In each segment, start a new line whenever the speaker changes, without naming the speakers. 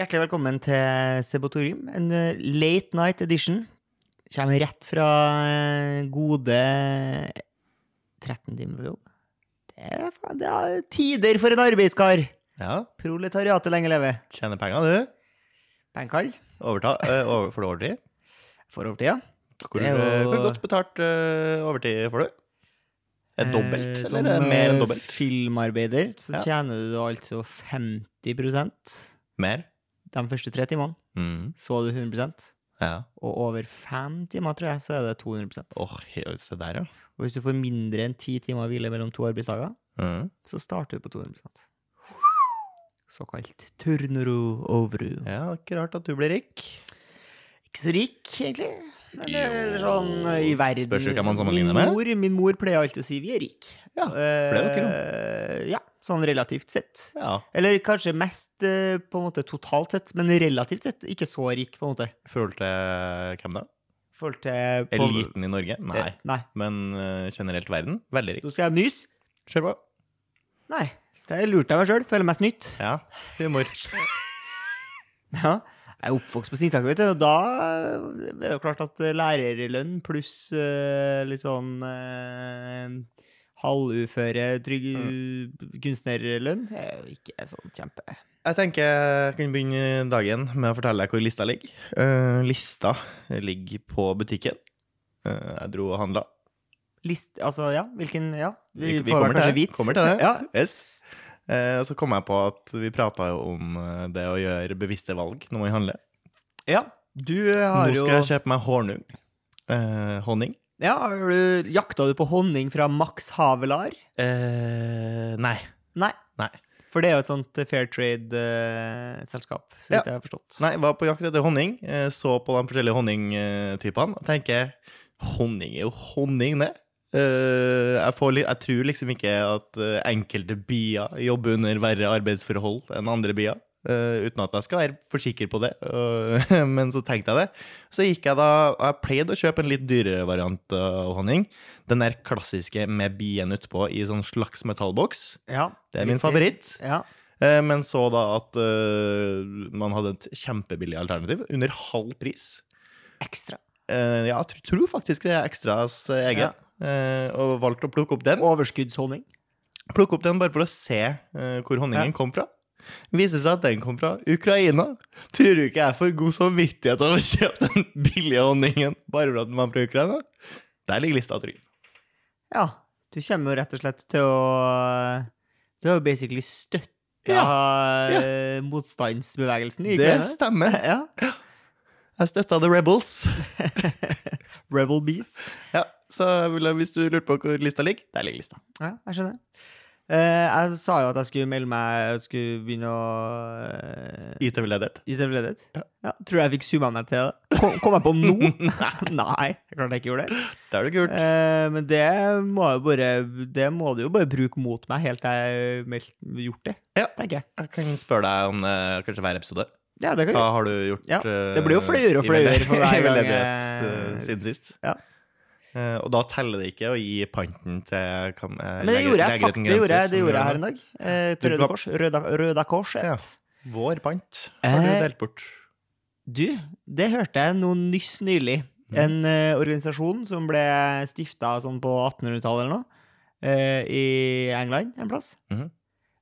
Hjertelig velkommen til Sebotorium, en eh, late night edition. Kommer rett fra eh, gode 13 timer på jobb. Det er, faen- det er tider for en arbeidskar!
Ja,
Proletariatet lenge leve.
tjener penger, du.
Pengekall.
Overta, eh, over, får du overtid?
For overtida.
Hvor,
Det er jo-
eh, hvor godt betalt eh, overtid får du? Er det dobbelt,
Eh,
eller er det mer enn dobbelt?
Som eh, filmarbeider så
Ja.
tjener du altså 50
Mer.
de første tre timene.
Mm.
Så du 100
Ja.
og over fem timer, tror jeg, så er det 200
Åh, he- se der, ja.
Og hvis du får mindre enn ti timer hvile mellom to arbeidsdager,
Mm.
så starter du på 200 Såkalt turnuru overu.
Ja, det er ikke rart at du blir rik.
Ikke så rik, egentlig. Men det er
Jo,
sånn eh, i verden
spørs jo hvem
min
man sammenligner med.
mor, min mor pleier alltid å si 'vi er rike'.
Ja, for det er
Eh, Ja, sånn relativt sett.
Ja,
Eller kanskje mest eh, på en måte totalt sett, men relativt sett ikke så rik, på en måte.
i forhold til eh, hvem da?
I forhold til på-
Eliten i Norge? Nei.
Eh, Nei.
Men eh, generelt verden? Veldig rik.
Nå skal jeg nyse.
Kjør på.
Nei. Det lurte jeg meg sjøl. Føler meg snytt.
Ja, humor.
Ja. Jeg er oppvokst på Singtaket, vet du, og da eh, er det jo klart at eh, lærerlønn pluss eh, litt sånn eh, halvuføre trygg
Mm.
kunstnerlønn er jo ikke sånn kjempe...
Jeg tenker jeg kan begynne dagen med å fortelle deg hvor lista ligger. Eh, lista ligger på butikken. Eh, jeg dro og handla.
List, altså, ja, hvilken, ja.
Vi- vi
får
kommer til
kanskje
det,
vite.
kommer til det.
Ja,
Yes. Eh, og så kom jeg på at vi prata jo om eh, det å gjøre bevisste valg når man handler.
ja. Du eh, har
Nå
jo...
skal jeg kjøpe meg honung. Eh, honning.
Ja, har du... Jakta du på honning fra Max Havelar?
Eh, nei.
Nei.
Nei.
For det er jo et sånt eh, fair trade-selskap, så
Ja.
vidt jeg har forstått.
Nei, var på jakt etter honning. eh, Så på de forskjellige honningtypene og tenker honning er jo honning, det. Eh, Jeg, får, li- jeg tror liksom ikke at eh, enkelte bier jobber under verre arbeidsforhold enn andre bier. eh, uten at jeg skal være for sikker på det, og- men så tenkte jeg det. Så gikk jeg da Og jeg pleide å kjøpe en litt dyrere variant av honning. Den der klassiske med bien utpå i sånn slags metallboks.
Ja.
Det er min
Riktig.
favoritt.
Ja.
Eh, Men så da at eh, man hadde et kjempebillig alternativ under halv pris.
Ekstra.
Eh, ja, jeg tr- tror faktisk det er Extras eh, egen. Eh, og valgte å plukke opp den.
Overskuddshonning.
Plukke opp den bare for å se eh, hvor honningen kom fra. Viste seg at den kom fra Ukraina. Tror du ikke jeg får god samvittighet av å kjøpe den billige honningen bare fordi den var fra Ukraina? Der ligger lista trygg.
Ja, du kommer jo rett og slett til å Du har jo basically støtta eh, motstandsbevegelsen. ikke
Det
sant?
stemmer.
Ja.
Jeg støtta The Rebels.
Rebel Bees.
Ja, så jeg ville- hvis du lurte på hvor lista ligger, der ligger lista.
Ja, jeg skjønner. Eh, jeg sa jo at jeg skulle melde meg Jeg skulle begynne å uh,
IT-veldedighet.
IT-ledighet.
Ja.
Ja, tror jeg fikk summa meg til det. Kom, kom jeg på nå? Nei, jeg klarte jeg ikke gjorde det.
Det er det kult.
Eh, men det må, jeg bare, det må du jo bare bruke mot meg helt til jeg har gjort det,
Ja.
tenker jeg.
Jeg kan spørre deg om eh, kanskje hver episode.
Ja, det kan jeg
Hva har du gjort?
Ja,
eh,
det blir jo flauere og
i
flauere
velde-
for hver
i
gang,
veldedighet,
eh,
eh, Siden sist.
ja.
Eh, og da teller det ikke å gi panten til kam, eh,
Men det
lege-
gjorde jeg,
leger
fakt,
uten
det gjorde jeg,
grenser,
det
som
gjorde jeg her en
gjør det.
dag. Eh,
Du
til Røde
ga-
Kors. Røda, Røda Kors.
Ja.
et.
Vår pant har du
Eh,
delt bort.
Du, det hørte jeg noe nyss nylig.
Mm.
En eh, organisasjon som ble stifta sånn på 1800-tallet eller noe, eh, i England en plass,
Mhm.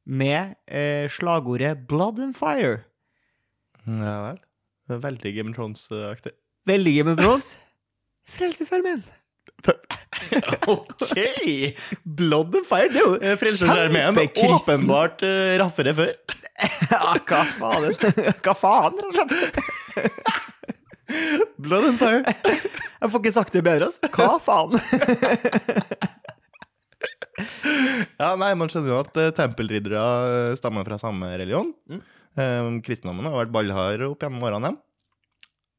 med eh, slagordet 'Blood and Fire'.
Mm, Ja vel. Det er Veldig Game of Thrones-aktig.
Veldig Game of Thrones. Frelsesarmeen.
OK!
Blood and Fire, det er jo
Eh, Frelsesarmeen
Kjempekristen.
åpenbart eh, raffere før.
Ja, hva faen? Hva faen, rett og slett?
Blood and fire.
Jeg får ikke sagt det bedre, altså. Hva faen?
Ja, nei, Man skjønner jo at eh, tempelriddere eh, stammer fra samme religion.
Mm.
Eh, kristendommen har vært ballhard opp gjennom årene. dem.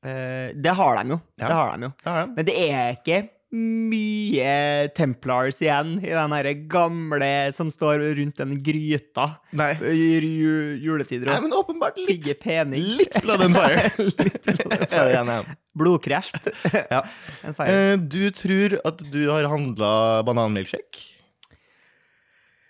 Eh, det har de jo.
Ja.
Det har de jo.
Det har de.
Men det er ikke mye Templars igjen i den her gamle som står rundt den gryta
Nei.
i ju- juletider
nei,
og
men åpenbart litt,
tigger pening.
litt blood and fire.
Litt
Er det igjen, ja.
Blodkreft.
Ja.
En feil.
Eh, Du tror at du har handla bananmilkshake?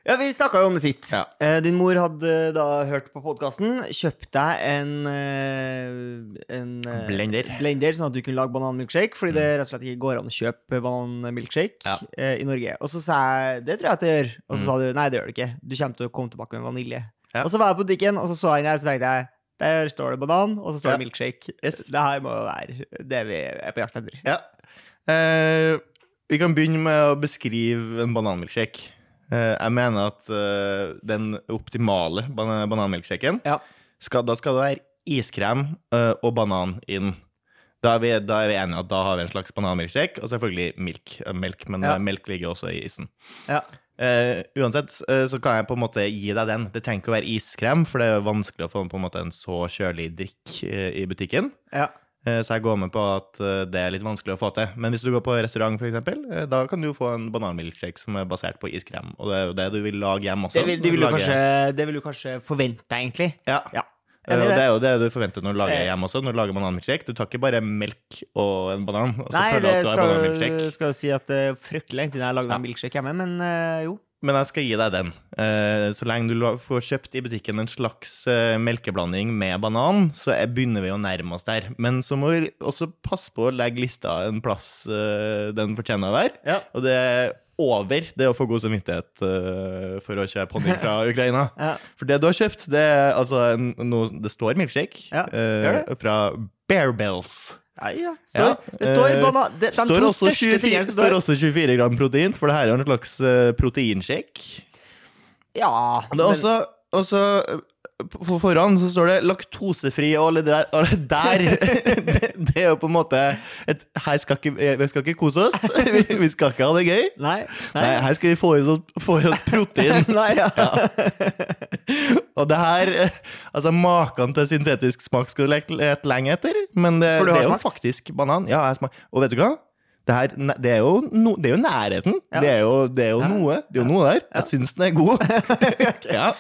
Ja, Vi snakka jo om det sist.
Ja.
Eh, din mor hadde da hørt på podkasten, kjøpt deg en, eh, en eh,
Blender.
blender, sånn at du kunne lage bananmilkshake, fordi det rett og slett ikke går an å kjøpe bananmilkshake
Mm. Ja.
eh, i Norge. Og så sa jeg det tror jeg at jeg gjør, og så
Mm.
sa du nei, det gjør det ikke. Du kommer til å komme tilbake med vanilje.
Ja.
Og så var jeg på butikken, og så så jeg inn her, så tenkte jeg der står det banan, og så står
Ja.
det milkshake.
Yes.
Det her må jo være det vi er på jakt etter.
Ja. Eh, vi kan begynne med å beskrive en bananmilkshake. Eh, jeg mener at eh, den optimale ban bananmilkshaken
Ja.
skal, Da skal det være iskrem eh, og banan inn. Da er, vi, da er vi enige at da har vi en slags bananmilkshake, og selvfølgelig milk. Eh, melk men
Ja.
eh, melk ligger også i isen.
Ja.
Eh, uansett eh, så kan jeg på en måte gi deg den. Det trenger ikke å være iskrem, for det er jo vanskelig å få på en, måte, en så kjølig drikk eh, i butikken.
Ja.
Eh, Så jeg går med på at eh, det er litt vanskelig å få til. Men hvis du går på restaurant, for eksempel, eh, da kan du få en bananmilkshake som er basert på iskrem. Og det er jo det du vil lage hjemme også.
Det vil, det, vil du
Lage-
kanskje, det vil du kanskje forvente, egentlig.
Ja.
Ja.
Eh,
Enig i det.
Og det er jo det du forventer når du lager
Eh.
hjemme også. Når du lager bananmilkshake. Du tar ikke bare melk og en banan, og så
Nei,
føler du
det
at du har
skal,
bananmilkshake.
skal jo si at det er fryktelig lenge siden jeg har lagd
Ja.
en milkshake hjemme, men eh, jo.
Men jeg skal gi deg den. Eh, Så lenge du la- får kjøpt i butikken en slags eh, melkeblanding med banan, så er- begynner vi å nærme oss der. Men så må vi også passe på å legge lista en plass eh, den fortjener å være.
Ja.
Og det er over det å få god samvittighet eh, for å kjøpe honning fra Ukraina.
Ja.
For det du har kjøpt, det er altså en, noe Det står milkshake
Ja,
eh,
gjør
fra Bear Bells.
ja. Står,
Ja,
Det står
eh,
banan... De, de
Står
to
også,
største
24,
fingrene som
står
står
også 24 gram protein, for det her er jo en slags eh, proteinshake.
Ja.
Og Det er også, også eh, på forhånd så står det laktosefri og alle det der. Alle der. det, det er jo på en måte et, Her skal ikke, eh, vi skal ikke kose oss. Vi, vi skal ikke ha det gøy.
Nei. Nei.
Nei, her skal vi få i oss, få i oss protein.
Nei, ja.
Og det her eh, Altså, maken til syntetisk smak skal du lete lete lenge etter, men det,
For du
det
har
er jo
smakt?
faktisk banan. Ja, jeg smak. Og vet du hva? Det, her, ne- det, er, jo no, det er jo nærheten.
Ja.
Det er jo, det er jo
Ja.
noe. Det er jo noe der. Jeg syns den er god. ja.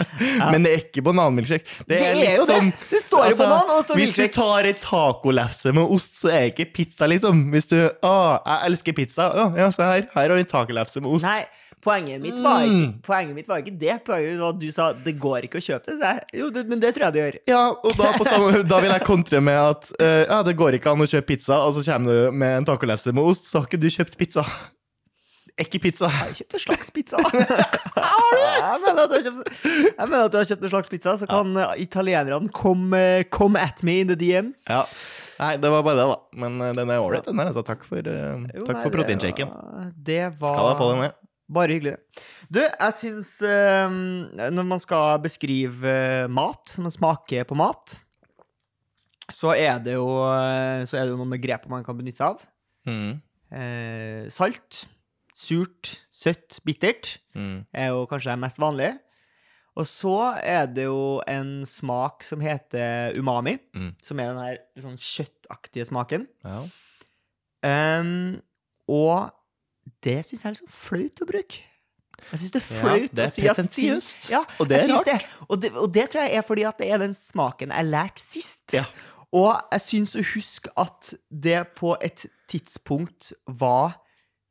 Men det er ikke bananmilkshake.
Det er,
litt
jo det!
som-
Det står jo
Altså,
banan, og det står
Hvis du
milkshake.
tar ei tacolefse med ost, så er det ikke pizza, liksom. Hvis du Å, jeg elsker pizza. Å, ja, se her. Her har vi tacolefse med ost.
Nei, poenget mitt, var ikke,
Mm.
poenget mitt var ikke det. Poenget mitt var at du sa det går ikke å kjøpe det. Så jeg, jo, det, men det tror jeg det gjør.
Ja, og da, på samme, da vil jeg kontre med at eh, ja, det går ikke an å kjøpe pizza, og så kommer du med en tacolefse med ost, så har ikke du kjøpt pizza. Ikke pizza.
Jeg har kjøpt en slags pizza. Har du? Jeg mener at jeg har kjøpt, jeg mener at jeg har kjøpt en slags pizza, så kan eh, italienerne come, eh, come at me in the DMs.
Ja. Nei, det var bare det, da. Men eh, den er ålreit, den her. Altså, takk for, eh,
Jo,
takk
nei,
for
det
proteinshaken.
var- Det var
Skal jeg få den med?
Bare hyggelig. Du, jeg syns eh, Når man skal beskrive eh, mat, når man smaker på mat, så er det jo, eh, så er det jo noen begreper man kan benytte seg av.
Mm.
Eh, salt, surt, søtt, bittert.
Mm.
er jo kanskje det mest vanlige. Og så er det jo en smak som heter umami,
Mm.
som er den her litt sånn kjøttaktige smaken.
Ja.
Ehm, og det syns jeg er litt sånn flaut å bruke. Jeg syns det er flaut
det er
å si at
pretensiøst.
Ja,
Og det
jeg
er
syns
rart.
det. Og, det, og det tror jeg er fordi at det er den smaken jeg lærte sist.
Ja.
Og jeg syns å huske at det på et tidspunkt var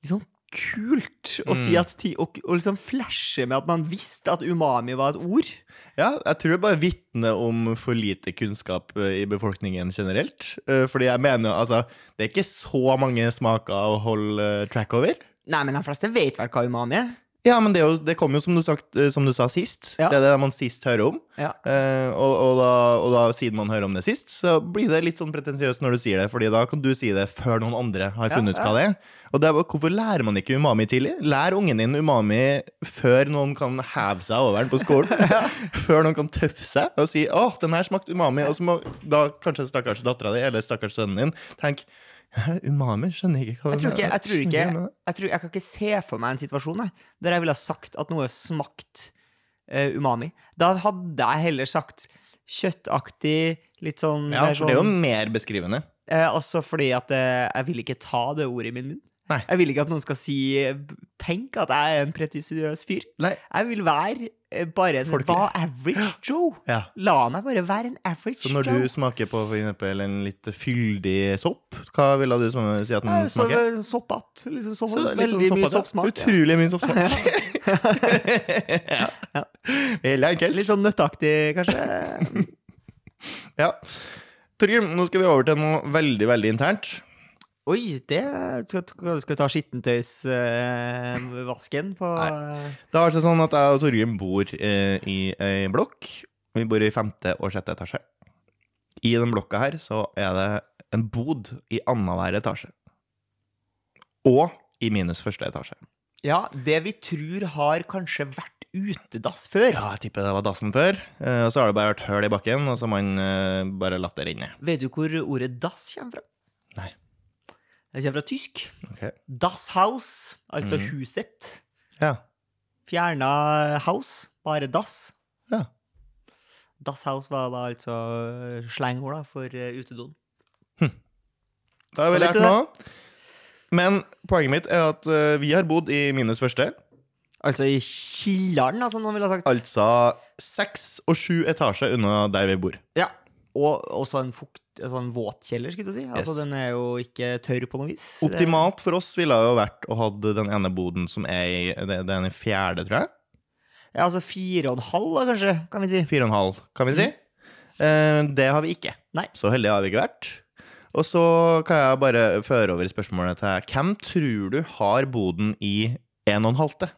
liksom kult å si
Mm.
at ti, og, og liksom flashe med at man visste at umami var et ord.
Ja, jeg tror det bare vitner om for lite kunnskap eh, i befolkningen generelt. Eh, Fordi jeg mener, altså, det er ikke så mange smaker å holde eh, track over.
Nei, men de fleste vet vel hva umami er.
Ja, men det, er jo, det kom jo som du, sagt, eh, som du sa sist.
Ja.
Det er det man sist hører om.
Ja.
Eh, og, og, da, og da, siden man hører om det sist, så blir det litt sånn pretensiøst når du sier det, Fordi da kan du si det før noen andre har
Ja,
funnet ut hva det er. Og det er bare, hvorfor lærer man ikke umami tidlig? Lær ungen din umami før noen kan heve seg over den på skolen. Før noen kan tøffe seg og si 'Å, den her smakte umami', og så må da kanskje stakkars dattera di eller stakkars sønnen din tenke «Hæ, Umami? Skjønner ikke hva
Jeg tror ikke, jeg, tror ikke,
skjønner hva-
jeg, tror, jeg kan ikke se for meg en situasjon jeg, der jeg ville ha sagt at noe smakt eh, umami. Da hadde jeg heller sagt kjøttaktig, litt sånn
Ja,
mer
for det er jo
sånn,
mer beskrivende.
eh, Også fordi at eh, jeg vil ikke ta det ordet i min munn.
Nei.
Jeg vil ikke at noen skal si eh, Tenk at jeg er en pretensiøs fyr.
Nei.
Jeg vil være eh, bare en
Folkelig.
hva, average Joe.
Ja.
La meg bare være en average
Så når
Joe.
du smaker på for eksempel en litt fyldig sopp, hva ville du som- si at den
Eh, så,
mm, smaker?
Soppete. Liksom, så,
Så litt
veldig
sånn
mye
soppete.
soppsmak. ja.
Utrolig mye soppsmak. ja.
Ja.
Veldig enkelt.
Litt sånn nøtteaktig, kanskje.
Ja. Torgrim, nå skal vi over til noe veldig, veldig internt.
Oi, det Skal, skal vi ta skittentøysvasken på
Det har vært sånn at jeg og Torgrim bor eh, i ei blokk. Vi bor i femte og sjette etasje. I den blokka her så er det en bod i annenhver etasje. Og i minus første etasje.
Ja, det vi tror har kanskje vært utedass før.
Ja, jeg tipper det var dassen før. Eh, og så har det bare vært høl i bakken, og så har man eh, bare latt det renne.
Vet du hvor ordet dass kommer fra?
Nei.
Det kommer fra tysk.
Ok.
Das Haus, altså
Mhm.
huset.
Ja.
Fjerna house, bare dass.
Ja.
Das House var da altså slangord da, for eh, utedoen.
Da har
Så vet
vi lært
du
noe. Men poenget mitt er at eh, vi har bodd i minus første.
Altså i kilderen, da, som noen ville ha sagt.
Altså seks og sju etasjer unna der vi bor.
Ja. Og også en fukt, altså en våtkjeller, skulle jeg si. Altså,
Yes.
Den er jo ikke tørr på noe vis.
Optimalt for oss ville det jo vært å ha den ene boden som er i det, det er den fjerde, tror jeg.
Ja, altså fire og en halv, da, kanskje, kan vi si.
Fire og en halv, kan vi si. Eh, det har vi ikke.
Nei.
Så heldige har vi ikke vært. Og så kan jeg bare føre over spørsmålet til Hvem tror du har boden i en og en halvte?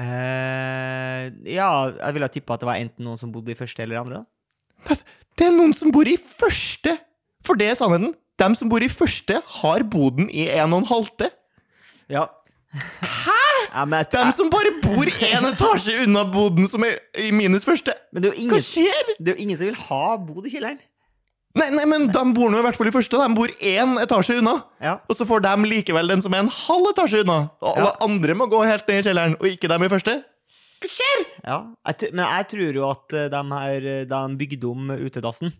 Eh, ja, jeg ville ha tippa at det var enten noen som bodde i første eller andre. da.
Det er noen som bor i første! For det er sannheten. Dem som bor i første, har boden i en og en halvte.
Ja. Hæ?! Ja, men, jeg,
Dem som bare bor én etasje unna boden som er i minus første.
men det er jo
Hva
ingen,
skjer?
det er jo ingen som vil ha bod i kjelleren.
Nei, nei, men de bor nå i hvert fall i første. De bor én etasje unna.
Ja.
Og så får de likevel den som er en halv etasje unna. Og alle
Ja.
andre må gå helt ned i kjelleren, og ikke dem i første. Hva skjer?
Ja, jeg, tr- men jeg tror jo at eh, de her, eh, da de bygde om utedassen,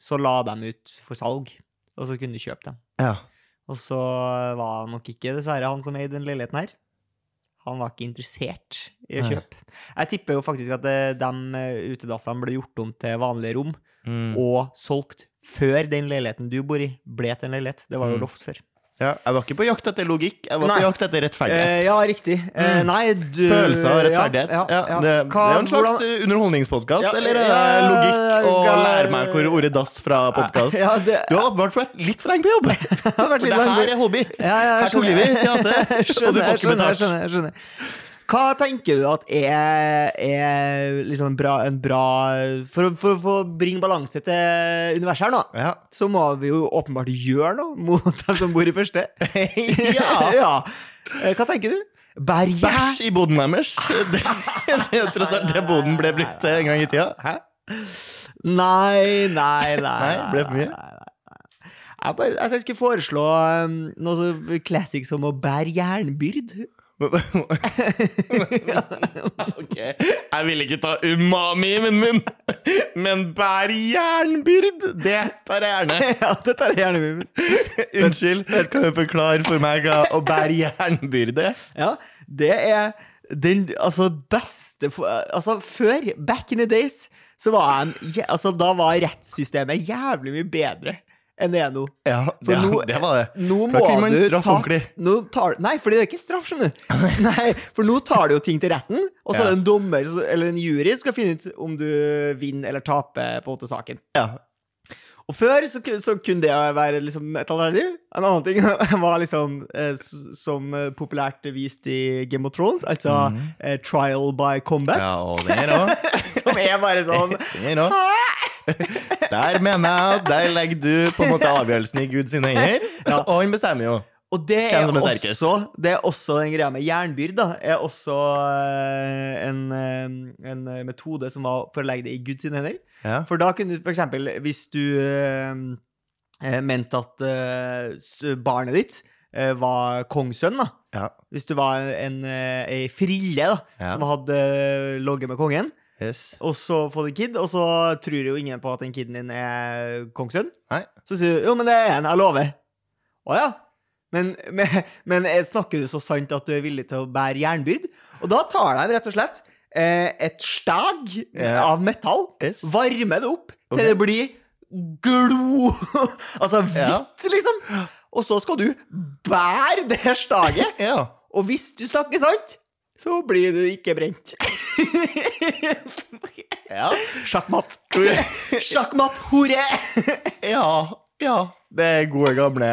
så la dem ut for salg, og så kunne du kjøpe dem.
Ja.
Og så var han nok ikke dessverre han som eide den leiligheten her. Han var ikke interessert i å
Nei.
kjøpe. Jeg tipper jo faktisk at eh, de eh, utedassene ble gjort om til vanlige rom,
Mm.
og solgt før den leiligheten du bor i, ble til en leilighet. Det var
Mm.
jo loft før.
ja. Jeg var ikke på jakt etter logikk, jeg var
Nei.
på jakt etter rettferdighet.
Eh, ja, riktig. Eh,
Mm.
nei, du
Følelse av
ja,
rettferdighet. Ja,
ja.
Det, det
Hva-
er jo en slags
hvordan-
eh, underholdningspodkast,
Ja,
eller er det
ja,
logikk og
ja,
lære meg hvor ordet dass fra podkast.
Ja, det
Du har åpenbart vært litt for lenge på jobb.
har vært
For
litt
det
langt.
her er hobby.
Ja, ja,
Her
jeg
tok
skjønner.
livet ditt, Jase.
Jeg
Og du
skjønner, jeg
får
skjønner,
ikke
jeg
betalt.
skjønner, jeg skjønner. Hva tenker du at er, er liksom en bra, en bra For å- for å få bringe balanse til universet her nå,
Ja.
så må vi jo åpenbart gjøre noe mot dem som bor i første.
ja.
Eh, Hva tenker du? Berget?
Bæsj i boden deres. Det, det er tross alt det boden ble brukt til en gang i tida. Hæ?
Nei, nei, nei.
Nei, ble det for mye?
nei, nei, nei. Jeg, bare, at jeg skulle foreslå um, noe så classic som å bære jernbyrd.
ok, jeg vil ikke ta umami i munnen min, men bær jernbyrd, det tar jeg gjerne.
ja, det tar jeg gjerne med meg.
Unnskyld, kan du forklare for meg hva å bære jernbyrde er?
Ja, det er den altså, beste for, Altså, før, back in the days, så var jeg en jæ- Altså, da var rettssystemet jævlig mye bedre enn det er nå.
Ja,
For
ja,
nå-
det var det.
Nå
Da
må
kunne man
du
straffe
ta
ordentlig.
nå tar, Nei, fordi det er ikke straff, skjønner du. Nei, for nå tar du jo ting til retten, og så
Ja.
er det en dommer så- eller en jury som skal finne ut om du vinner eller taper på en måte saken.
Ja.
Og før så, ku- så kunne det være liksom et alternativ. En annen ting var liksom eh, s- som eh, populært vist i Game of Thrones, altså
Mhm.
eh, trial by combat,
ja, og der òg.
som er bare sånn
Der, også. der mener jeg at der legger du på en måte avgjørelsen i Guds hender,
Ja.
og han bestemmer jo.
Og det
Hvem
er,
som er sterkest?
også, det er også den greia med jernbyrd, da. Er også eh, en, eh, en eh, metode som var for å legge det i Guds sine hender.
Ja.
For da kunne du for eksempel, hvis du eh, eh, mente at eh, s- barnet ditt eh, var kongssønn, da.
Ja.
Hvis du var en, eh, ei frille da,
Ja.
som hadde eh, logget med kongen,
Yes.
og så får du en kid, og så tror jo ingen på at den kiden din er kongssønn.
Nei.
Så sier du 'jo, men det er en, jeg lover'. Å ja. Men, men, men eh, snakker du så sant at du er villig til å bære jernbyrd? Og da tar de rett og slett eh, et stag
Ja.
av metall,
Yes.
varmer det opp til
Ok.
det blir glo Altså
Ja.
hvitt, liksom. Og så skal du bære det staget.
Ja.
Og hvis du snakker sant, så blir du ikke brent.
Ja.
Sjakkmatt. Sjakkmatt, hore!
ja. ja. Det er gode, gamle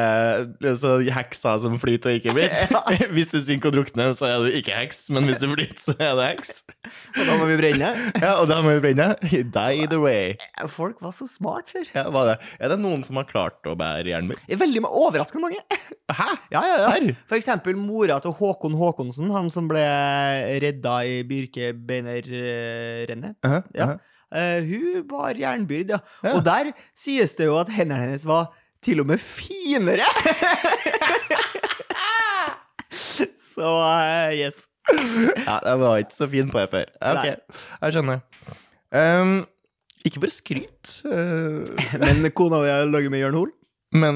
liksom, hekser som flyter og ikke flyter. Hvis du synker og drukner, så er du ikke heks, men hvis du flyter, så er du heks.
Og da må vi brenne.
Ja, og da må vi brenne. Die either way.
Folk var så smart før.
Ja, hva er, det? er det noen som har klart å bære jernbyrd?
Det er Veldig ma- overraskende mange.
Hæ?
Ja, ja, ja.
Serr?
For eksempel mora til Håkon Håkonsen, han som ble redda i Birkebeinerrennet.
Aha,
Ja.
aha.
Eh, hun bar jernbyrd, ja.
Ja.
Og der sies det jo at hendene hennes var til og med finere! Så eh, yes.
Ja, jeg var ikke så fin på det før. Ja,
Nei.
Ok, jeg skjønner. Ehm, ikke for skryt, eh,
Men kona di har ligget med Jørn Hoel.
men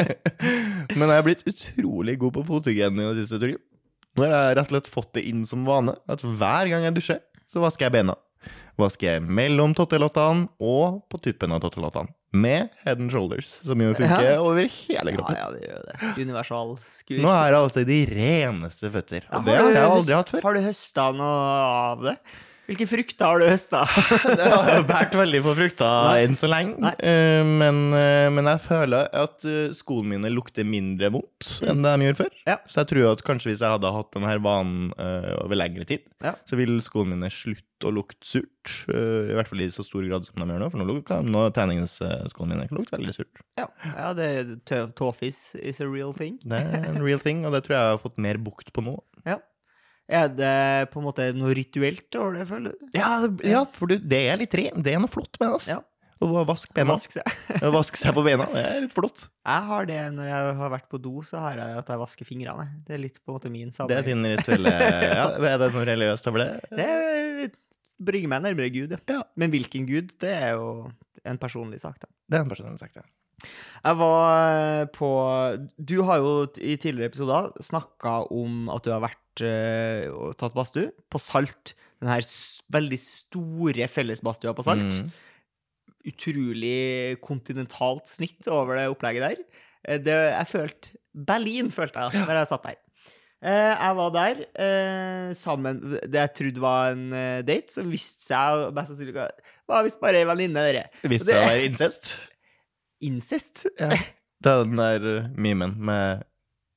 Men jeg har blitt utrolig god på fothygiene i det siste. Tror jeg. Nå har jeg rett og slett fått det inn som vane at hver gang jeg dusjer, så vasker jeg bena. Vasker jeg mellom tottelottene og på tuppen av tottelottene. Med head and shoulders, som jo funker
Ja.
over hele
Ja,
kroppen.
ja, det gjør det. Universal skur.
Nå er det altså de reneste føtter.
Ja,
Og det har
du
jeg
høst-
aldri hatt før.
Har du høsta noe av det? Hvilke frukter har du høsta?
Det har vært veldig på frukta
Nei.
enn så lenge.
Nei.
eh, Men, eh, men jeg føler at eh, skoene mine lukter mindre vondt enn det de gjorde før.
Ja.
Så jeg tror at kanskje hvis jeg hadde hatt denne vanen eh, over lengre tid,
Ja.
så vil skoene mine slutte å lukte surt. eh, I hvert fall i så stor grad som de gjør nå, for nå, lukter- nå treningsskoene mine lukter veldig surt.
Ja, ja det er tø- tåfis is a real thing.
Det er en real thing, og det tror jeg jeg har fått mer bukt på nå.
Er det på en måte noe rituelt over det, føler du?
Ja, ja for du, det er litt ren. Det er noe flott med det. ass.
Ja.
Å vaske bena.
Vask seg.
Å Vaske seg på bena, det er litt flott.
Jeg har det når jeg har vært på do, så har jeg at jeg vasker fingrene. Det er litt på en måte min
Det er
sammenheng.
din rituelle ja, Er det noe religiøst over det?
Det er- bringer meg nærmere Gud, ja.
Ja.
Men hvilken Gud, det er jo en personlig sak, da.
Det er en person som har sagt det.
Jeg var eh, på Du har jo i tidligere episoder snakka om at du har vært eh, og tatt badstue på Salt. Den her s- veldig store fellesbadstua på Salt.
Mm.
Utrolig kontinentalt snitt over det opplegget der. Eh, Det, jeg følte Berlin, følte jeg, da jeg satt der. Eh, Jeg var der eh, sammen Det jeg trodde var en eh, date, som viste seg mest sannsynlig var visst bare ei venninne, dere.
Hvis
Det-
det var incest.
Incest.
Det er den der uh, memen med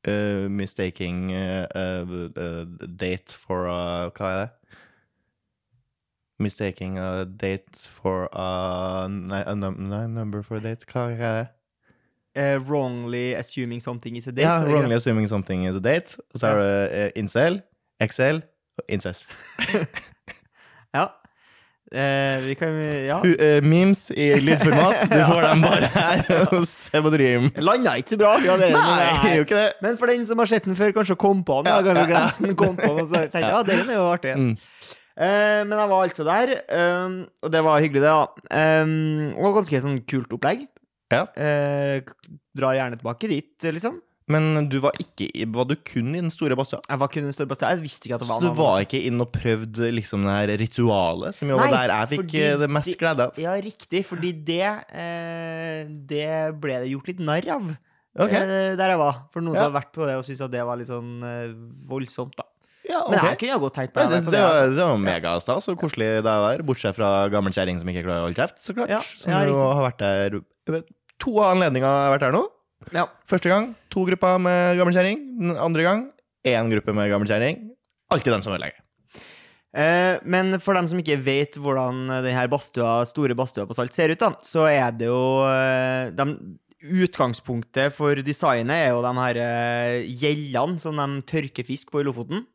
uh, mistaking uh, uh, uh, date for a Hva er det? Mistaking a date for a Nei, a num nei number for a date. Hva er det?
Eh, wrongly assuming something is a date.
Ja,
er det ikke
wrongly assuming something is a date. Og så er det uh, incel, excel, incest.
Ja. Eh, vi kan Ja.
Hu- eh, memes i lydformat. Du får dem bare her hos Seb og Dream.
Landa ikke så bra. Ja, det er det, men det
Nei,
er-
gjør ikke det.
Men for den som har sett den før, kanskje kom på den. Ja,
Ja,
kanskje
ja,
glemte den, kom på den og så tenkte jeg, ja, den er jo artig.
Mm.
Eh, men jeg var altså der, ehm, og det var hyggelig, det, da. Ehm, og ganske sånn kult opplegg.
Ja.
Eh, drar gjerne tilbake dit, liksom.
Men du var, ikke, i- var du kun i den store badstua?
Jeg var kun en stor badstua. Jeg visste ikke at det
Så
var
du
annen
var ikke inn og prøvd liksom det her ritualet, som jo var
Nei,
der jeg fikk
fordi
eh, det mest
de-
glede av?
Ja, riktig, fordi det eh, Det ble det gjort litt narr av
Ok.
eh, der jeg var. For noen
Ja.
som har vært på det og syntes at det var litt sånn eh, voldsomt, da.
Ja,
Eh, Men jeg
ok.
kunne jo godt tenkt på
Nei,
det.
det,
på
det,
altså.
var, det var megastas og koselig det var, bortsett fra gammel kjerring som ikke klarer å holde kjeft, så klart.
Ja,
som
ja,
jo
riktig.
har vært der jeg vet, To anledninger har jeg vært her nå.
ja.
Første gang to grupper med gammel kjerring. Den andre gang én gruppe med gammel kjerring. Alltid dem som ødelegger.
Eh, men for dem som ikke vet hvordan den her badstua, store badstua på Salt ser ut, da, så er det jo eh, dem- Utgangspunktet for designet er jo de her eh, gjellene som de tørker fisk på i Lofoten.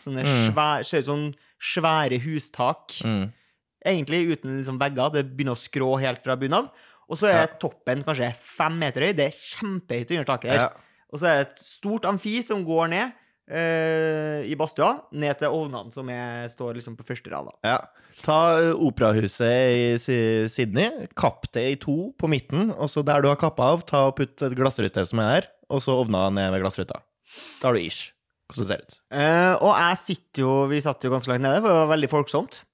Sånne
Mm.
svære, ser ut som svære hustak.
Mm.
egentlig uten liksom vegger. Det begynner å skrå helt fra bunnen av. Og så er
Ja.
toppen kanskje fem meter høy. Det er kjempehøyt under taket der.
Ja.
Og så er det et stort amfi som går ned eh, i badstua, ned til ovnene som er, står liksom på første rad. da.
Ja. Ta eh, operahuset i Sy- Sydney, kapp det i to på midten, og så der du har kappa av, ta og putt et glassrute som er der, og så ovna ned ved glassruta. Da har du ish. Hvordan det ser ut.
Eh, og jeg sitter jo Vi satt jo ganske langt nede, for det var veldig folksomt.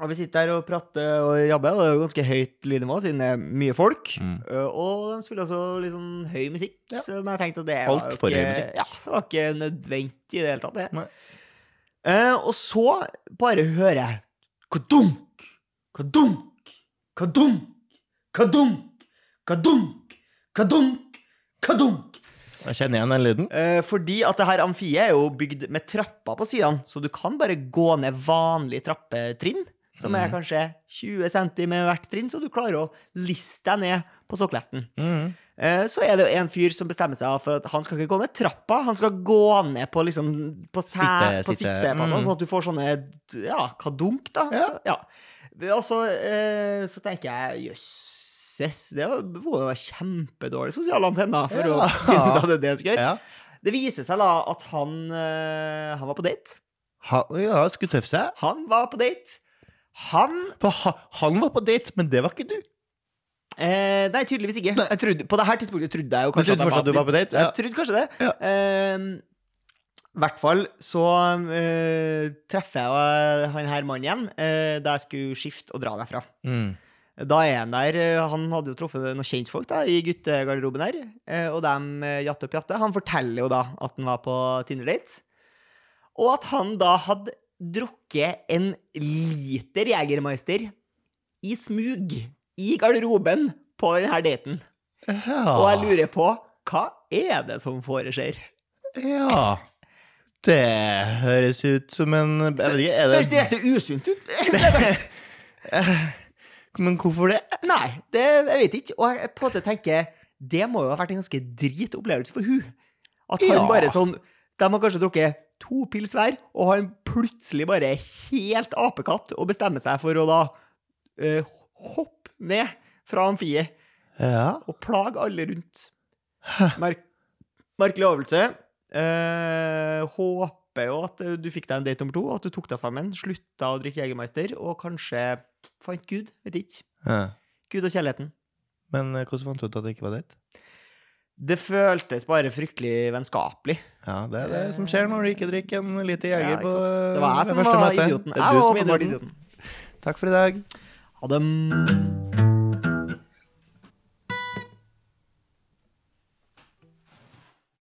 Og vi sitter her og prater og jabber, og det er jo ganske høyt lydnivå siden det er mye folk.
Mm.
Eh, og de spiller også litt sånn høy musikk,
Ja.
som jeg tenkte at det var
Alt
jo
for høy
ikke-
musikk.
Ja, det var ikke nødvendig i det hele tatt, det.
Nei.
Eh, og så bare hører jeg kadunk, kadunk, kadunk, kadunk, kadunk, kadunk, kadunk.
Jeg kjenner igjen den lyden.
Eh, fordi at det her amfiet er jo bygd med trapper på sidene, så du kan bare gå ned vanlig trappetrinn, som er
Mhm.
kanskje 20 cm hvert trinn, så du klarer å liste deg ned på sokkelesten.
Mm.
Eh, så er det jo en fyr som bestemmer seg for at han skal ikke gå ned trappa, han skal gå ned på liksom på sæ,
Sitte-
på
sitte,
sitteplata,
mm.
sånn at du får sånne ja, kadunk, da.
Ja.
Så, ja. Og så, eh, så tenker jeg jøsses, det var- det må jo være kjempedårlig sosiale antenner for
Ja.
å finne ut av det det skal gjøre.
Ja.
Det viser seg da at han, eh, han var på date.
Ha, ja, skulle tøffe seg.
Han var på date. Han
For ha, han var på date, men det var ikke du.
eh, Nei, tydeligvis ikke. Jeg trodde, på det her tidspunktet trodde jeg jo kanskje
trodde fortsatt du var på date? Ja.
Jeg trodde kanskje det.
Ja.
Eh, I hvert fall så eh, treffer jeg eh, han her mannen igjen eh, da jeg skulle skifte og dra derfra.
Mm.
Da er han der. eh, Han hadde jo truffet noen kjentfolk da, i guttegarderoben her. eh, Og de eh, jatte opp jatte. Han forteller jo da at han var på Tinder-date. Og at han da hadde drukket en liter Jegermeister i smug i garderoben på denne daten.
Ja.
Og jeg lurer på hva er det som foreskjer?
Ja. Det høres ut som en
Det
Jeg vet ikke,
høres
er det
direkte usunt ut.
Men hvorfor det?
Nei, det, jeg vet ikke. Og jeg på en måte tenker det må jo ha vært en ganske drit opplevelse for hun. At han
Ja.
bare sånn De har kanskje drukket to pils hver, og han plutselig bare er helt apekatt og bestemmer seg for å da eh, hoppe ned fra amfiet
Ja.
og plage alle rundt. Merk, merkelig øvelse. Eh, håper jo at eh, du fikk deg en date nummer to, at du tok deg sammen, slutta å drikke Jegermeister, og kanskje fant Gud. Vet ikke.
ja.
Gud og kjærligheten.
Men eh, hvordan fant du ut at det ikke var date?
Det føltes bare fryktelig vennskapelig.
Ja, det er det som skjer når du ikke drikker en lite jeger
Ja,
på
ikke sant? det var jeg
eh,
som
første
var
møte.
idioten.
Det
Jeg
er
var
du som er
åpenbart
idioten.
idioten.
Takk for i dag.
Ha det.